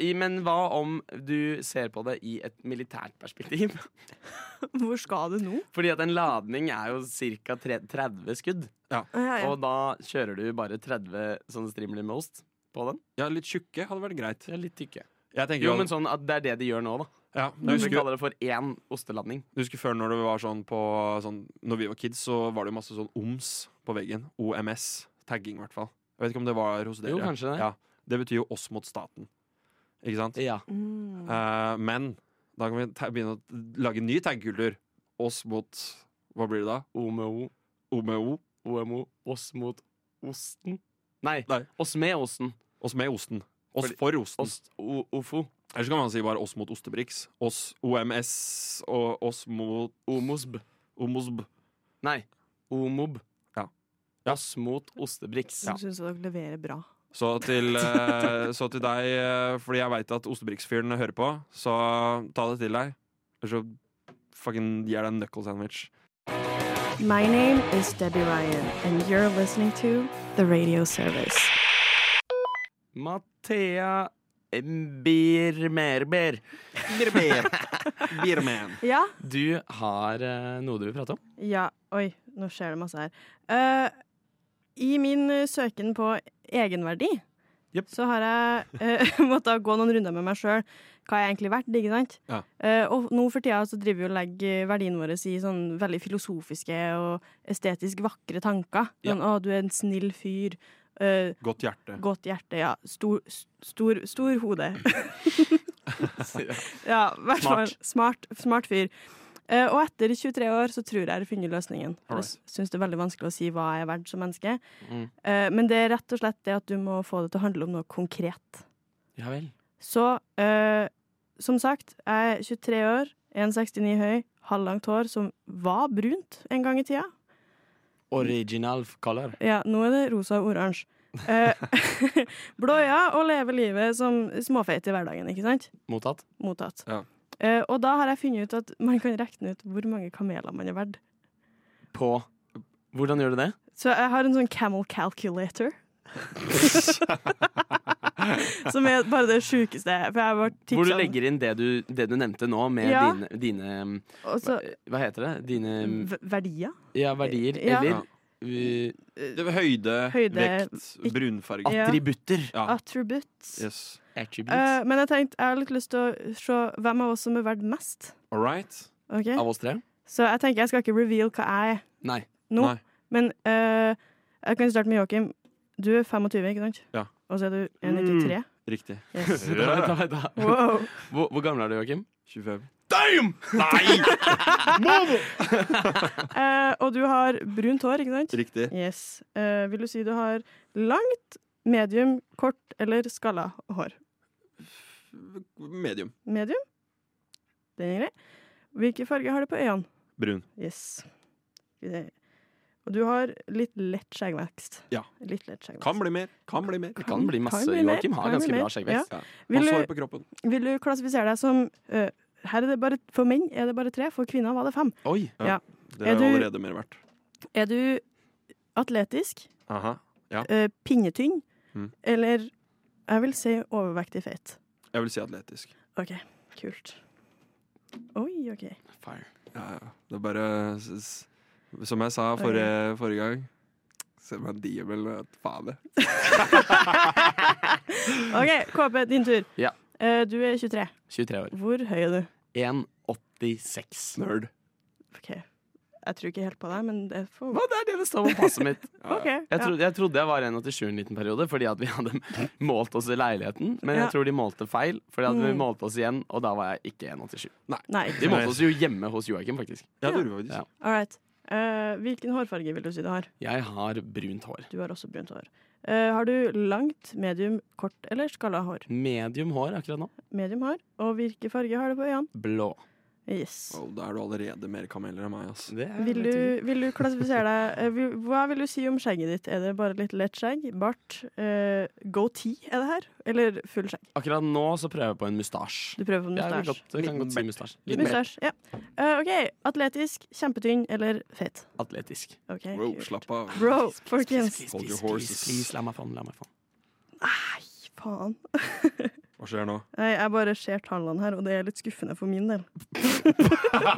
Speaker 4: I, men hva om du ser på det i et militært perspektiv?
Speaker 6: Hvor skal du nå?
Speaker 4: Fordi at en ladning er jo ca. 30 skudd.
Speaker 6: Å, ja, ja.
Speaker 4: Og da kjører du bare 30 sånne strimler med ost på den.
Speaker 5: Ja, litt tjukke hadde vært greit.
Speaker 4: De er litt tykke.
Speaker 5: Jeg tenker
Speaker 4: Jo,
Speaker 5: jo,
Speaker 4: men sånn at det er det de gjør nå, da.
Speaker 5: ja,
Speaker 4: Du
Speaker 5: jeg husker,
Speaker 4: kaller det for én osteladning.
Speaker 5: jeg husker før når det var sånn på sånn, Når vi var kids, så var det jo masse sånn OMS på veggen. OMS. Tagging, i hvert fall. Jeg vet ikke om det var hos dere.
Speaker 4: Jo, kanskje det.
Speaker 5: Ja, det betyr jo oss mot staten. Ikke sant?
Speaker 4: Ja.
Speaker 6: Mm.
Speaker 5: Eh, men da kan vi ta begynne å lage ny taggkultur. Oss mot Hva blir det da?
Speaker 4: OMO,
Speaker 5: OMO?
Speaker 4: OMO, oss mot osten. Nei,
Speaker 5: Nei.
Speaker 4: oss med osten.
Speaker 5: Oss med osten. Oss
Speaker 4: Fordi-
Speaker 5: for osten.
Speaker 4: Ost, o, ofo.
Speaker 5: Eller så kan man si bare oss mot ostebriks. Oss OMS og oss mot
Speaker 4: Omosb.
Speaker 5: Omosb.
Speaker 4: Nei, omob.
Speaker 5: Ja.
Speaker 4: Oss mot ostebriks.
Speaker 6: Jeg syns dere leverer bra.
Speaker 5: Så til, eh, så til deg, eh, fordi jeg veit at ostebriksfyren hører på, så ta det til deg. Eller så fucking gir jeg deg en knuckle sandwich.
Speaker 6: My name is Debbie Ryan, and you're listening to The Radio Service.
Speaker 4: Mathea Birmerber,
Speaker 5: Beerman.
Speaker 6: Ja,
Speaker 4: du har eh, noe du vil prate om?
Speaker 6: Ja, oi, nå skjer det masse her. Eh, I min eh, søken på egenverdi
Speaker 4: Jep.
Speaker 6: Så har jeg eh, måttet gå noen runder med meg sjøl. Hva er jeg egentlig verdt? Ikke sant?
Speaker 5: Ja.
Speaker 6: Eh, og nå for tida så driver vi og legger verdien vår i sånn veldig filosofiske og estetisk vakre tanker.
Speaker 5: Ja.
Speaker 6: Sånn 'Å, du er en snill fyr'. eh,
Speaker 5: Godt hjerte.
Speaker 6: Godt hjerte, ja. Stor, s- stor, stor hode. ja, i hvert fall. Smart, smart fyr. Eh, og etter 23 år så tror jeg jeg har funnet løsningen. For
Speaker 5: Alright.
Speaker 6: Jeg syns det er veldig vanskelig å si hva jeg er verdt som menneske.
Speaker 4: Mm.
Speaker 6: Eh, men det er rett og slett det at du må få det til å handle om noe konkret.
Speaker 4: Ja vel.
Speaker 6: Så eh, som sagt, jeg er 23 år, 1,69 høy, halvlangt hår som var brunt en gang i tida.
Speaker 4: Original color.
Speaker 6: Ja, nå er det rosa og oransje. Eh, Blå øyne og leve livet som småfeit i hverdagen, ikke sant?
Speaker 4: Mottatt.
Speaker 6: Mottatt.
Speaker 5: Ja.
Speaker 6: Eh, og da har jeg funnet ut at man kan regne ut hvor mange kameler man er verdt.
Speaker 4: På Hvordan gjør du det?
Speaker 6: Så jeg har en sånn camel calculator. som er bare det sjukeste. For jeg var tipset
Speaker 4: Hvor du
Speaker 6: om-
Speaker 4: legger inn det du, det du nevnte nå, med
Speaker 6: Ja.
Speaker 4: dine, dine um,
Speaker 6: Og så
Speaker 4: Hva heter det? Dine um,
Speaker 6: v- verdier.
Speaker 4: ja, verdier.
Speaker 6: Ja.
Speaker 4: Eller uh,
Speaker 5: Det var Høyde,
Speaker 6: Høyde,
Speaker 5: vekt,
Speaker 6: ikk-
Speaker 5: brunfarge.
Speaker 6: Ja.
Speaker 4: attributter.
Speaker 5: Ja.
Speaker 6: Attributes.
Speaker 5: Yes.
Speaker 4: Attributes.
Speaker 6: Eh, men jeg tenkte, jeg har litt lyst til å se hvem av oss som er verdt mest.
Speaker 5: All right.
Speaker 6: Ok?
Speaker 4: Av oss tre?
Speaker 6: Så jeg tenker jeg skal ikke reveal hva jeg er
Speaker 4: Nei.
Speaker 6: nå.
Speaker 5: Nei.
Speaker 6: Men eh, jeg kan starte med Joakim. Du er 25, ikke sant?
Speaker 5: Ja.
Speaker 6: Og så er du 1,93.
Speaker 5: Riktig.
Speaker 6: Yes.
Speaker 4: Da, da, da, da.
Speaker 6: Wow.
Speaker 4: Hvor, hvor gammel er du, Joakim?
Speaker 5: 25.
Speaker 6: Eh, og du har brunt hår, ikke sant?
Speaker 5: Riktig.
Speaker 6: Yes. Eh, vil du si du har langt, medium, kort eller skalla hår?
Speaker 5: Medium.
Speaker 6: Medium? Den er grei. Hvilke farger har du på øynene?
Speaker 5: Brun.
Speaker 6: Yes. Skal vi se. Og du har litt lett skjeggvekst.
Speaker 5: Ja.
Speaker 6: Litt lett skjeggvekst.
Speaker 5: Kan bli mer. Kan bli mer.
Speaker 4: Det kan bli masse.
Speaker 6: bli mer,
Speaker 4: Joakim har
Speaker 6: kan bli
Speaker 4: ganske
Speaker 6: mer.
Speaker 4: bra skjeggvekst.
Speaker 5: Og
Speaker 6: Vil du,
Speaker 5: sår på kroppen.
Speaker 6: Vil du klassifisere deg som eh, her er det bare, For menn er det bare tre, for kvinner var det fem.
Speaker 4: Oi!
Speaker 5: Det
Speaker 6: Er
Speaker 5: er jo
Speaker 6: du-
Speaker 5: allerede mer verdt.
Speaker 6: Er du atletisk,
Speaker 5: Aha.
Speaker 6: eh, pinnetynn
Speaker 5: Mm.
Speaker 6: eller jeg vil si overvektig feit?
Speaker 5: Jeg vil si atletisk.
Speaker 6: OK, kult. Oi, OK.
Speaker 4: Fire.
Speaker 5: Ja, ja. Det er bare s- s- Som jeg sa forrige, forrige gang Se meg en diamel og et faen det.
Speaker 6: OK, KP, din tur.
Speaker 4: Ja.
Speaker 6: Eh, du er 23.
Speaker 4: 23 år.
Speaker 6: Hvor høy er du?
Speaker 4: 1,86.
Speaker 5: Nerd.
Speaker 6: OK. Jeg tror ikke helt på deg, men det får
Speaker 4: Hva, det er det det står på passet mitt.
Speaker 6: OK.
Speaker 4: Jeg,
Speaker 6: ja.
Speaker 4: trodde, jeg trodde jeg var 1,87 en liten periode, fordi at vi hadde målt oss i leiligheten. Men
Speaker 6: Ja.
Speaker 4: jeg tror de målte feil, fordi at vi
Speaker 6: Mm.
Speaker 4: målte oss igjen, og da var jeg ikke 1,87.
Speaker 6: Nei,
Speaker 4: De
Speaker 6: ikke
Speaker 4: målte oss jo hjemme hos Joakim, faktisk.
Speaker 5: Ja, det gjorde vi faktisk.
Speaker 4: Ja.
Speaker 6: All right. Eh, hvilken hårfarge vil du si du har?
Speaker 4: Jeg har brunt hår.
Speaker 6: Du har også brunt hår. Eh, har du langt, medium, kort eller skalla hår?
Speaker 4: Medium hår akkurat nå.
Speaker 6: Medium hår. Og hvilke farger har du på øynene?
Speaker 4: Blå.
Speaker 6: Yes.
Speaker 5: Wow, da er du allerede mer kameler enn meg. Ass.
Speaker 4: Det er
Speaker 6: Vil
Speaker 4: litt-
Speaker 6: du, vil du klassifisere deg eh, vil, Hva vil du si om skjegget ditt? Er det bare litt lett skjegg? Bart? Uh, goatee er det her? Eller full skjegg?
Speaker 4: Akkurat nå så prøver jeg på en mustasje.
Speaker 6: Du prøver på
Speaker 4: Jeg vil
Speaker 6: mustasje.
Speaker 4: godt, jeg kan godt si mustasje. Litt mer
Speaker 6: Mustasje, ja. Eh, OK. Atletisk, kjempetynn eller fet?
Speaker 4: atletisk.
Speaker 6: OK.
Speaker 5: Wow,
Speaker 6: kult.
Speaker 5: slapp av.
Speaker 6: Bro, folkens.
Speaker 5: Hold your
Speaker 4: Please,
Speaker 5: horses.
Speaker 4: please, please, la meg få den, la meg få den.
Speaker 6: Faen.
Speaker 5: Hva skjer nå?
Speaker 6: Nei, Jeg bare ser tallene her, og det er litt skuffende for min del.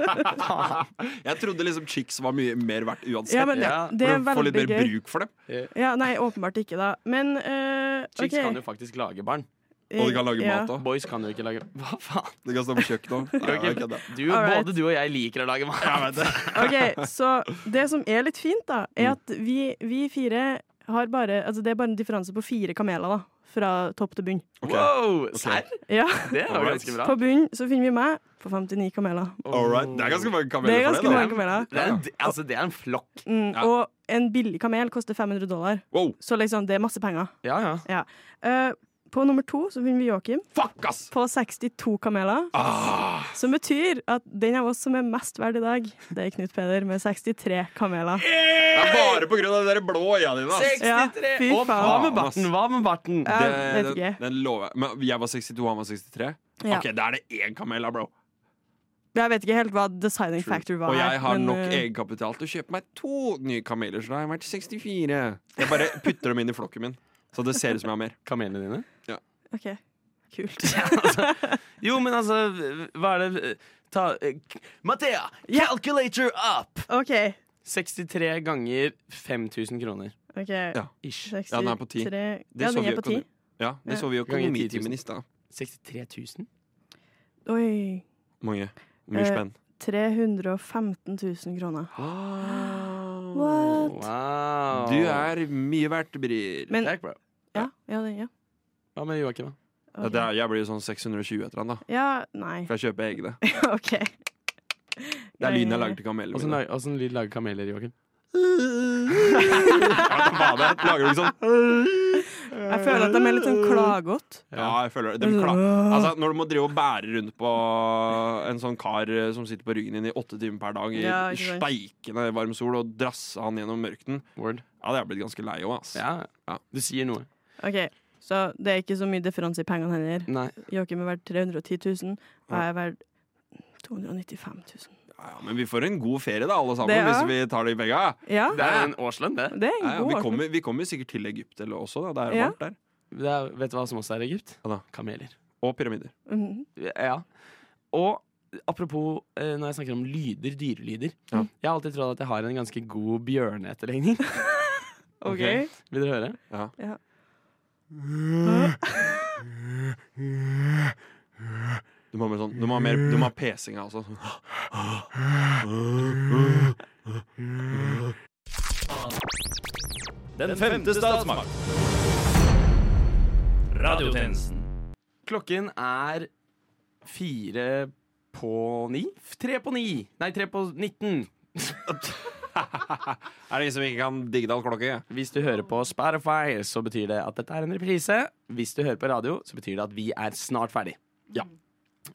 Speaker 5: Jeg trodde liksom chicks var mye mer verdt uansett.
Speaker 6: Ja, men
Speaker 4: Ja,
Speaker 6: det er
Speaker 5: For å Få litt
Speaker 6: veldig
Speaker 5: mer
Speaker 6: gøy.
Speaker 5: bruk for dem.
Speaker 6: Ja, nei, åpenbart ikke, da. Men eh,
Speaker 4: Chicks
Speaker 6: OK. eh,
Speaker 4: kan jo faktisk lage barn.
Speaker 5: Og de kan lage
Speaker 6: ja.
Speaker 5: mat òg.
Speaker 4: Boys kan jo ikke lage Hva faen?
Speaker 5: De kan stå på kjøkkenet òg.
Speaker 4: Joakim, du,
Speaker 6: Alright.
Speaker 4: både du og jeg liker å lage mat.
Speaker 6: OK, så det som er litt fint, da, er at vi, vi fire har bare Altså, det er bare en differanse på fire kameler, da. Fra topp til bunn.
Speaker 4: Wow! Serr?
Speaker 6: Ja.
Speaker 4: Det er jo
Speaker 5: Alright.
Speaker 4: ganske bra.
Speaker 6: På bunn så finner vi meg på 59 kameler.
Speaker 5: All right. Det er ganske mange
Speaker 6: Det
Speaker 5: kameler
Speaker 6: er
Speaker 5: for
Speaker 6: ganske
Speaker 5: det.
Speaker 6: mange
Speaker 5: da.
Speaker 6: kameler.
Speaker 4: Det er, en- altså, det er en flokk.
Speaker 6: Mm,
Speaker 5: Ja.
Speaker 6: og en billig kamel koster 500 dollar.
Speaker 5: Wow.
Speaker 6: Så liksom, det er masse penger.
Speaker 4: Ja, ja.
Speaker 6: Eh, på nummer to så finner vi Joakim
Speaker 5: Fuck, ass!
Speaker 6: på 62 kameler.
Speaker 5: Ah.
Speaker 6: Som betyr at den av oss som er mest verd i dag, det er Knut Peder med 63 kameler.
Speaker 5: Det er bare på grunn av de der blå øya dine. ass.
Speaker 6: Ja, fy
Speaker 4: Og hva
Speaker 6: faen.
Speaker 4: med barten? Hva med barten?
Speaker 6: Ja,
Speaker 5: Det-
Speaker 6: vet
Speaker 5: den,
Speaker 6: ikke.
Speaker 5: den lover jeg. Men jeg var 62, han var 63.
Speaker 6: Ja.
Speaker 5: Ok, Da er det én kamel, da, bro.
Speaker 6: Jeg vet ikke helt hva deciding factor var.
Speaker 5: Og jeg har
Speaker 6: men,
Speaker 5: nok
Speaker 6: eh,
Speaker 5: egenkapital til å kjøpe meg to nye kameler, så da har jeg vært 64. Jeg bare putter dem inn i flokken min, så det ser ut som jeg har mer.
Speaker 4: Kamelene dine?
Speaker 6: ok. Kult.
Speaker 4: Jo, men altså, hva er det Ta eh, k- Mathea,
Speaker 6: Ja.
Speaker 4: calculator up!
Speaker 6: OK.
Speaker 4: 63 ganger 5000 kroner.
Speaker 6: ok
Speaker 5: Ja,
Speaker 4: Ish.
Speaker 5: Ja, den er på 10.
Speaker 6: 63.
Speaker 5: De
Speaker 6: Ja, den er på 10.
Speaker 5: Sovjet- Ja, det så vi jo
Speaker 4: Ganger 10 000.
Speaker 5: økonomitimen i stad.
Speaker 4: 63 000?
Speaker 6: Oi.
Speaker 5: Mange. Mye
Speaker 6: Eh,
Speaker 5: spenn.
Speaker 6: 315 000 kroner. What?
Speaker 4: Wow.
Speaker 5: Du er mye verdt, Brir.
Speaker 6: Men
Speaker 4: Det er bra.
Speaker 6: Ja, ja, det, ja.
Speaker 4: Hva med Joakim, da?
Speaker 5: Ja,
Speaker 6: ok.
Speaker 5: det er, jeg blir jo sånn 620 etter han, da.
Speaker 6: Ja, nei.
Speaker 5: For jeg kjøper egne. Det
Speaker 6: OK.
Speaker 5: er lyden jeg lager til kamelene
Speaker 4: Åssen
Speaker 5: mine.
Speaker 4: lag- åssen lyd lager kameler, Joakim?
Speaker 5: Hva det? Lager du ikke sånn?
Speaker 6: Jeg føler at de er litt sånn klagete.
Speaker 5: Ja, jeg føler det. De kla- altså, når du må drive og bære rundt på en sånn kar eh, som sitter på ryggen din i åtte timer per dag i
Speaker 6: Ja, ikke sant.
Speaker 5: steikende varm sol, og drasse han gjennom mørken,
Speaker 4: Word.
Speaker 5: ja, det er jeg blitt ganske lei òg, ass.
Speaker 4: Ja.
Speaker 5: Ja.
Speaker 4: Du sier noe.
Speaker 6: OK, så det er ikke så mye differanse i pengene heller.
Speaker 4: Nei.
Speaker 6: Joakim er verdt 310 000, og jeg er verdt 295 000.
Speaker 5: Ja, ja, men vi får en god ferie, da, alle sammen,
Speaker 6: Det er-
Speaker 5: hvis vi tar de penga.
Speaker 6: Ja,
Speaker 4: Det er en årslønn, det.
Speaker 6: det er
Speaker 5: Ja,
Speaker 6: en
Speaker 5: ja,
Speaker 6: god
Speaker 5: vi,
Speaker 6: årsak.
Speaker 5: kommer, vi kommer sikkert til Egypt eller også, da. Det er jo
Speaker 6: Ja.
Speaker 5: varmt der.
Speaker 4: det er, vet du hva som også er i Egypt?
Speaker 5: Hva da?
Speaker 4: Kameler.
Speaker 5: Og pyramider.
Speaker 6: Mhm.
Speaker 4: Ja. Og apropos eh, når jeg snakker om lyder, dyrelyder.
Speaker 5: Ja.
Speaker 4: Jeg har alltid trodd at jeg har en ganske god bjørneetterligning.
Speaker 6: OK.
Speaker 4: Vil dere høre?
Speaker 6: Ja.
Speaker 5: Du må ha mer, sånn, du må ha mer du må ha altså. pesinga også.
Speaker 9: Den femte statsmakt. Radiotjenesten.
Speaker 4: Klokken er fire på ni? F- Tre på ni! Nei, tre på 19.
Speaker 5: Er det ingen som ikke kan Digdal-klokke?
Speaker 4: Hvis du hører på Spotify, så betyr det at dette er en reprise. Hvis du hører på radio, så betyr det at vi er snart ferdig. Ja.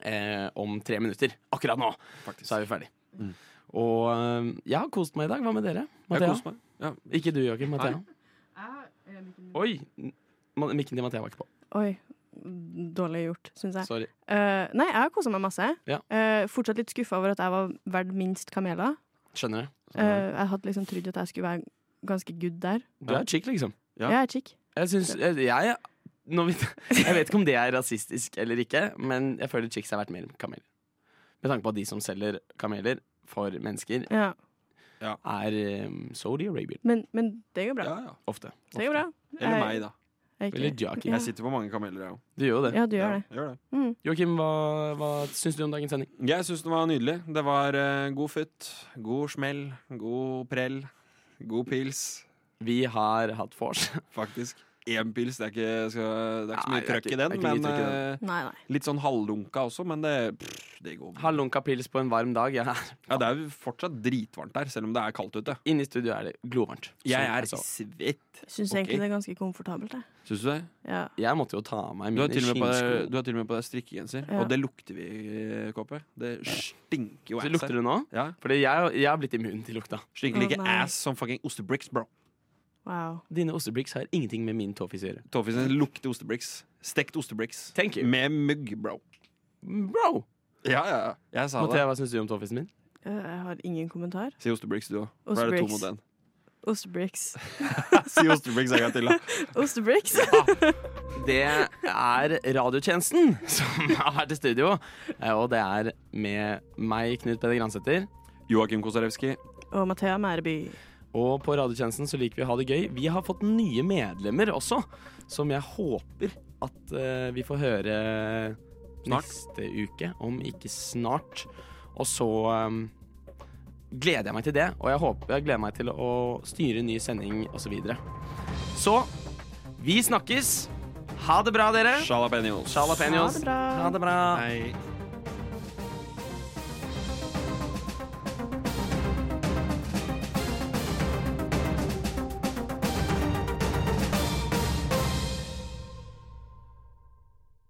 Speaker 4: Eh, om tre minutter. Akkurat nå
Speaker 5: Faktisk.
Speaker 4: så er vi ferdig. Og eh, jeg har kost meg i dag. Hva med dere?
Speaker 5: Jeg
Speaker 4: Mathea?
Speaker 5: koser meg. Ja.
Speaker 4: Ikke du, Joakim. Mathea.
Speaker 6: eh,
Speaker 4: Oi! Ma- Mikken til Mathea var ikke på.
Speaker 6: Oi. Dårlig gjort, syns jeg.
Speaker 4: Sorry.
Speaker 6: Eh, nei, jeg har kosa meg masse.
Speaker 4: Ja.
Speaker 6: Eh, fortsatt litt skuffa over at jeg var verdt minst kameler.
Speaker 4: Skjønner det.
Speaker 6: Eh, jeg hadde liksom trodd at jeg skulle være ganske good der.
Speaker 4: Du er chick, liksom.
Speaker 5: Ja.
Speaker 6: Jeg er chick.
Speaker 4: Jeg syns jeg, jeg, nå vet, jeg vet ikke om det er rasistisk eller ikke, men jeg føler chicks har vært mer kameler. Med tanke på at de som selger kameler for mennesker,
Speaker 6: Ja.
Speaker 4: er um, Saudi Arabia
Speaker 6: Men, men det går bra.
Speaker 5: Ja, ja.
Speaker 4: ofte.
Speaker 6: Det går bra.
Speaker 5: Eller meg, da.
Speaker 6: Jeg, er
Speaker 4: Eller
Speaker 6: ikke-
Speaker 4: jockey.
Speaker 5: Jeg sitter på mange kameler, jeg òg.
Speaker 4: Du gjør jo det.
Speaker 6: ja, du gjør det.
Speaker 5: gjør det.
Speaker 4: Joakim, hva, hva syns du om dagens sending?
Speaker 5: Jeg syns den var nydelig. Det var eh, god futt, god smell, god prell, god pils.
Speaker 4: Vi har hatt vors.
Speaker 5: Faktisk. Én pils, det er ikke, skal, det er ikke så
Speaker 4: Nei,
Speaker 5: mye
Speaker 4: det er
Speaker 5: trøkk i
Speaker 4: ikke-
Speaker 5: den.
Speaker 4: det er ikke mye
Speaker 5: Men
Speaker 4: trøkk i
Speaker 5: eh,
Speaker 6: Nei, nei.
Speaker 5: litt sånn halvlunka også, men det, pff, det går. bra.
Speaker 4: Halvlunka pils på en varm dag. Ja.
Speaker 5: Ja, det er jo fortsatt dritvarmt der, selv om det er kaldt ute.
Speaker 4: Inne i studio er det glovarmt. Så,
Speaker 5: Jeg er
Speaker 4: altså,
Speaker 5: svett.
Speaker 6: Syns
Speaker 5: Ok.
Speaker 6: egentlig det er ganske komfortabelt, jeg.
Speaker 5: Syns du det?
Speaker 6: Ja.
Speaker 4: jeg måtte jo ta av meg
Speaker 5: Du har
Speaker 4: mine
Speaker 5: til og med på
Speaker 4: skinnsko.
Speaker 5: deg, du har til og med på deg strikkegenser,
Speaker 6: Ja.
Speaker 5: og det lukter vi, eh, Kåpe. Det stinker jo
Speaker 4: Så
Speaker 5: ass
Speaker 4: lukter
Speaker 5: her.
Speaker 4: du nå?
Speaker 5: Ja,
Speaker 4: Fordi jeg, jeg har blitt immun til lukta.
Speaker 5: stinker like
Speaker 6: Å, nei.
Speaker 5: ass som fucking ostebricks, bro.
Speaker 6: Wow.
Speaker 4: Dine ostebriks har ingenting med min tåfis å gjøre.
Speaker 5: Toffisen lukter ostebricks. Stekt ostebricks.
Speaker 4: Thank you.
Speaker 5: Med mugg, bro.
Speaker 4: Mm, Bro!
Speaker 5: Ja, ja, ja. Jeg sa
Speaker 4: Mathea, hva syns du om tåfisen min?
Speaker 6: Eh, Jeg har ingen kommentar.
Speaker 5: det. Si ostebricks, du òg. For da er det to mot
Speaker 6: Ostebricks.
Speaker 5: én.
Speaker 6: Ostebricks.
Speaker 5: Si ostebricks en gang til, da.
Speaker 6: Ostebricks?
Speaker 4: Det er radiotjenesten som har vært i studio. eh, Og det er med meg, Knut Peder Gransæter.
Speaker 5: Joakim Kosarewski.
Speaker 6: Og Mathea Mæreby.
Speaker 4: Og på radiotjenesten så liker vi å ha det gøy. Vi har fått nye medlemmer også, som jeg håper at eh, vi får høre
Speaker 5: Snart.
Speaker 4: neste uke, om ikke snart. Og så eh, gleder jeg meg til det, og jeg, håper, jeg gleder meg til å styre ny sending osv. Så, videre. så vi snakkes. Ha det bra, dere.
Speaker 5: Jalapeños.
Speaker 4: Jalapeños.
Speaker 6: Ha det bra.
Speaker 4: Ha det bra.
Speaker 5: Hei.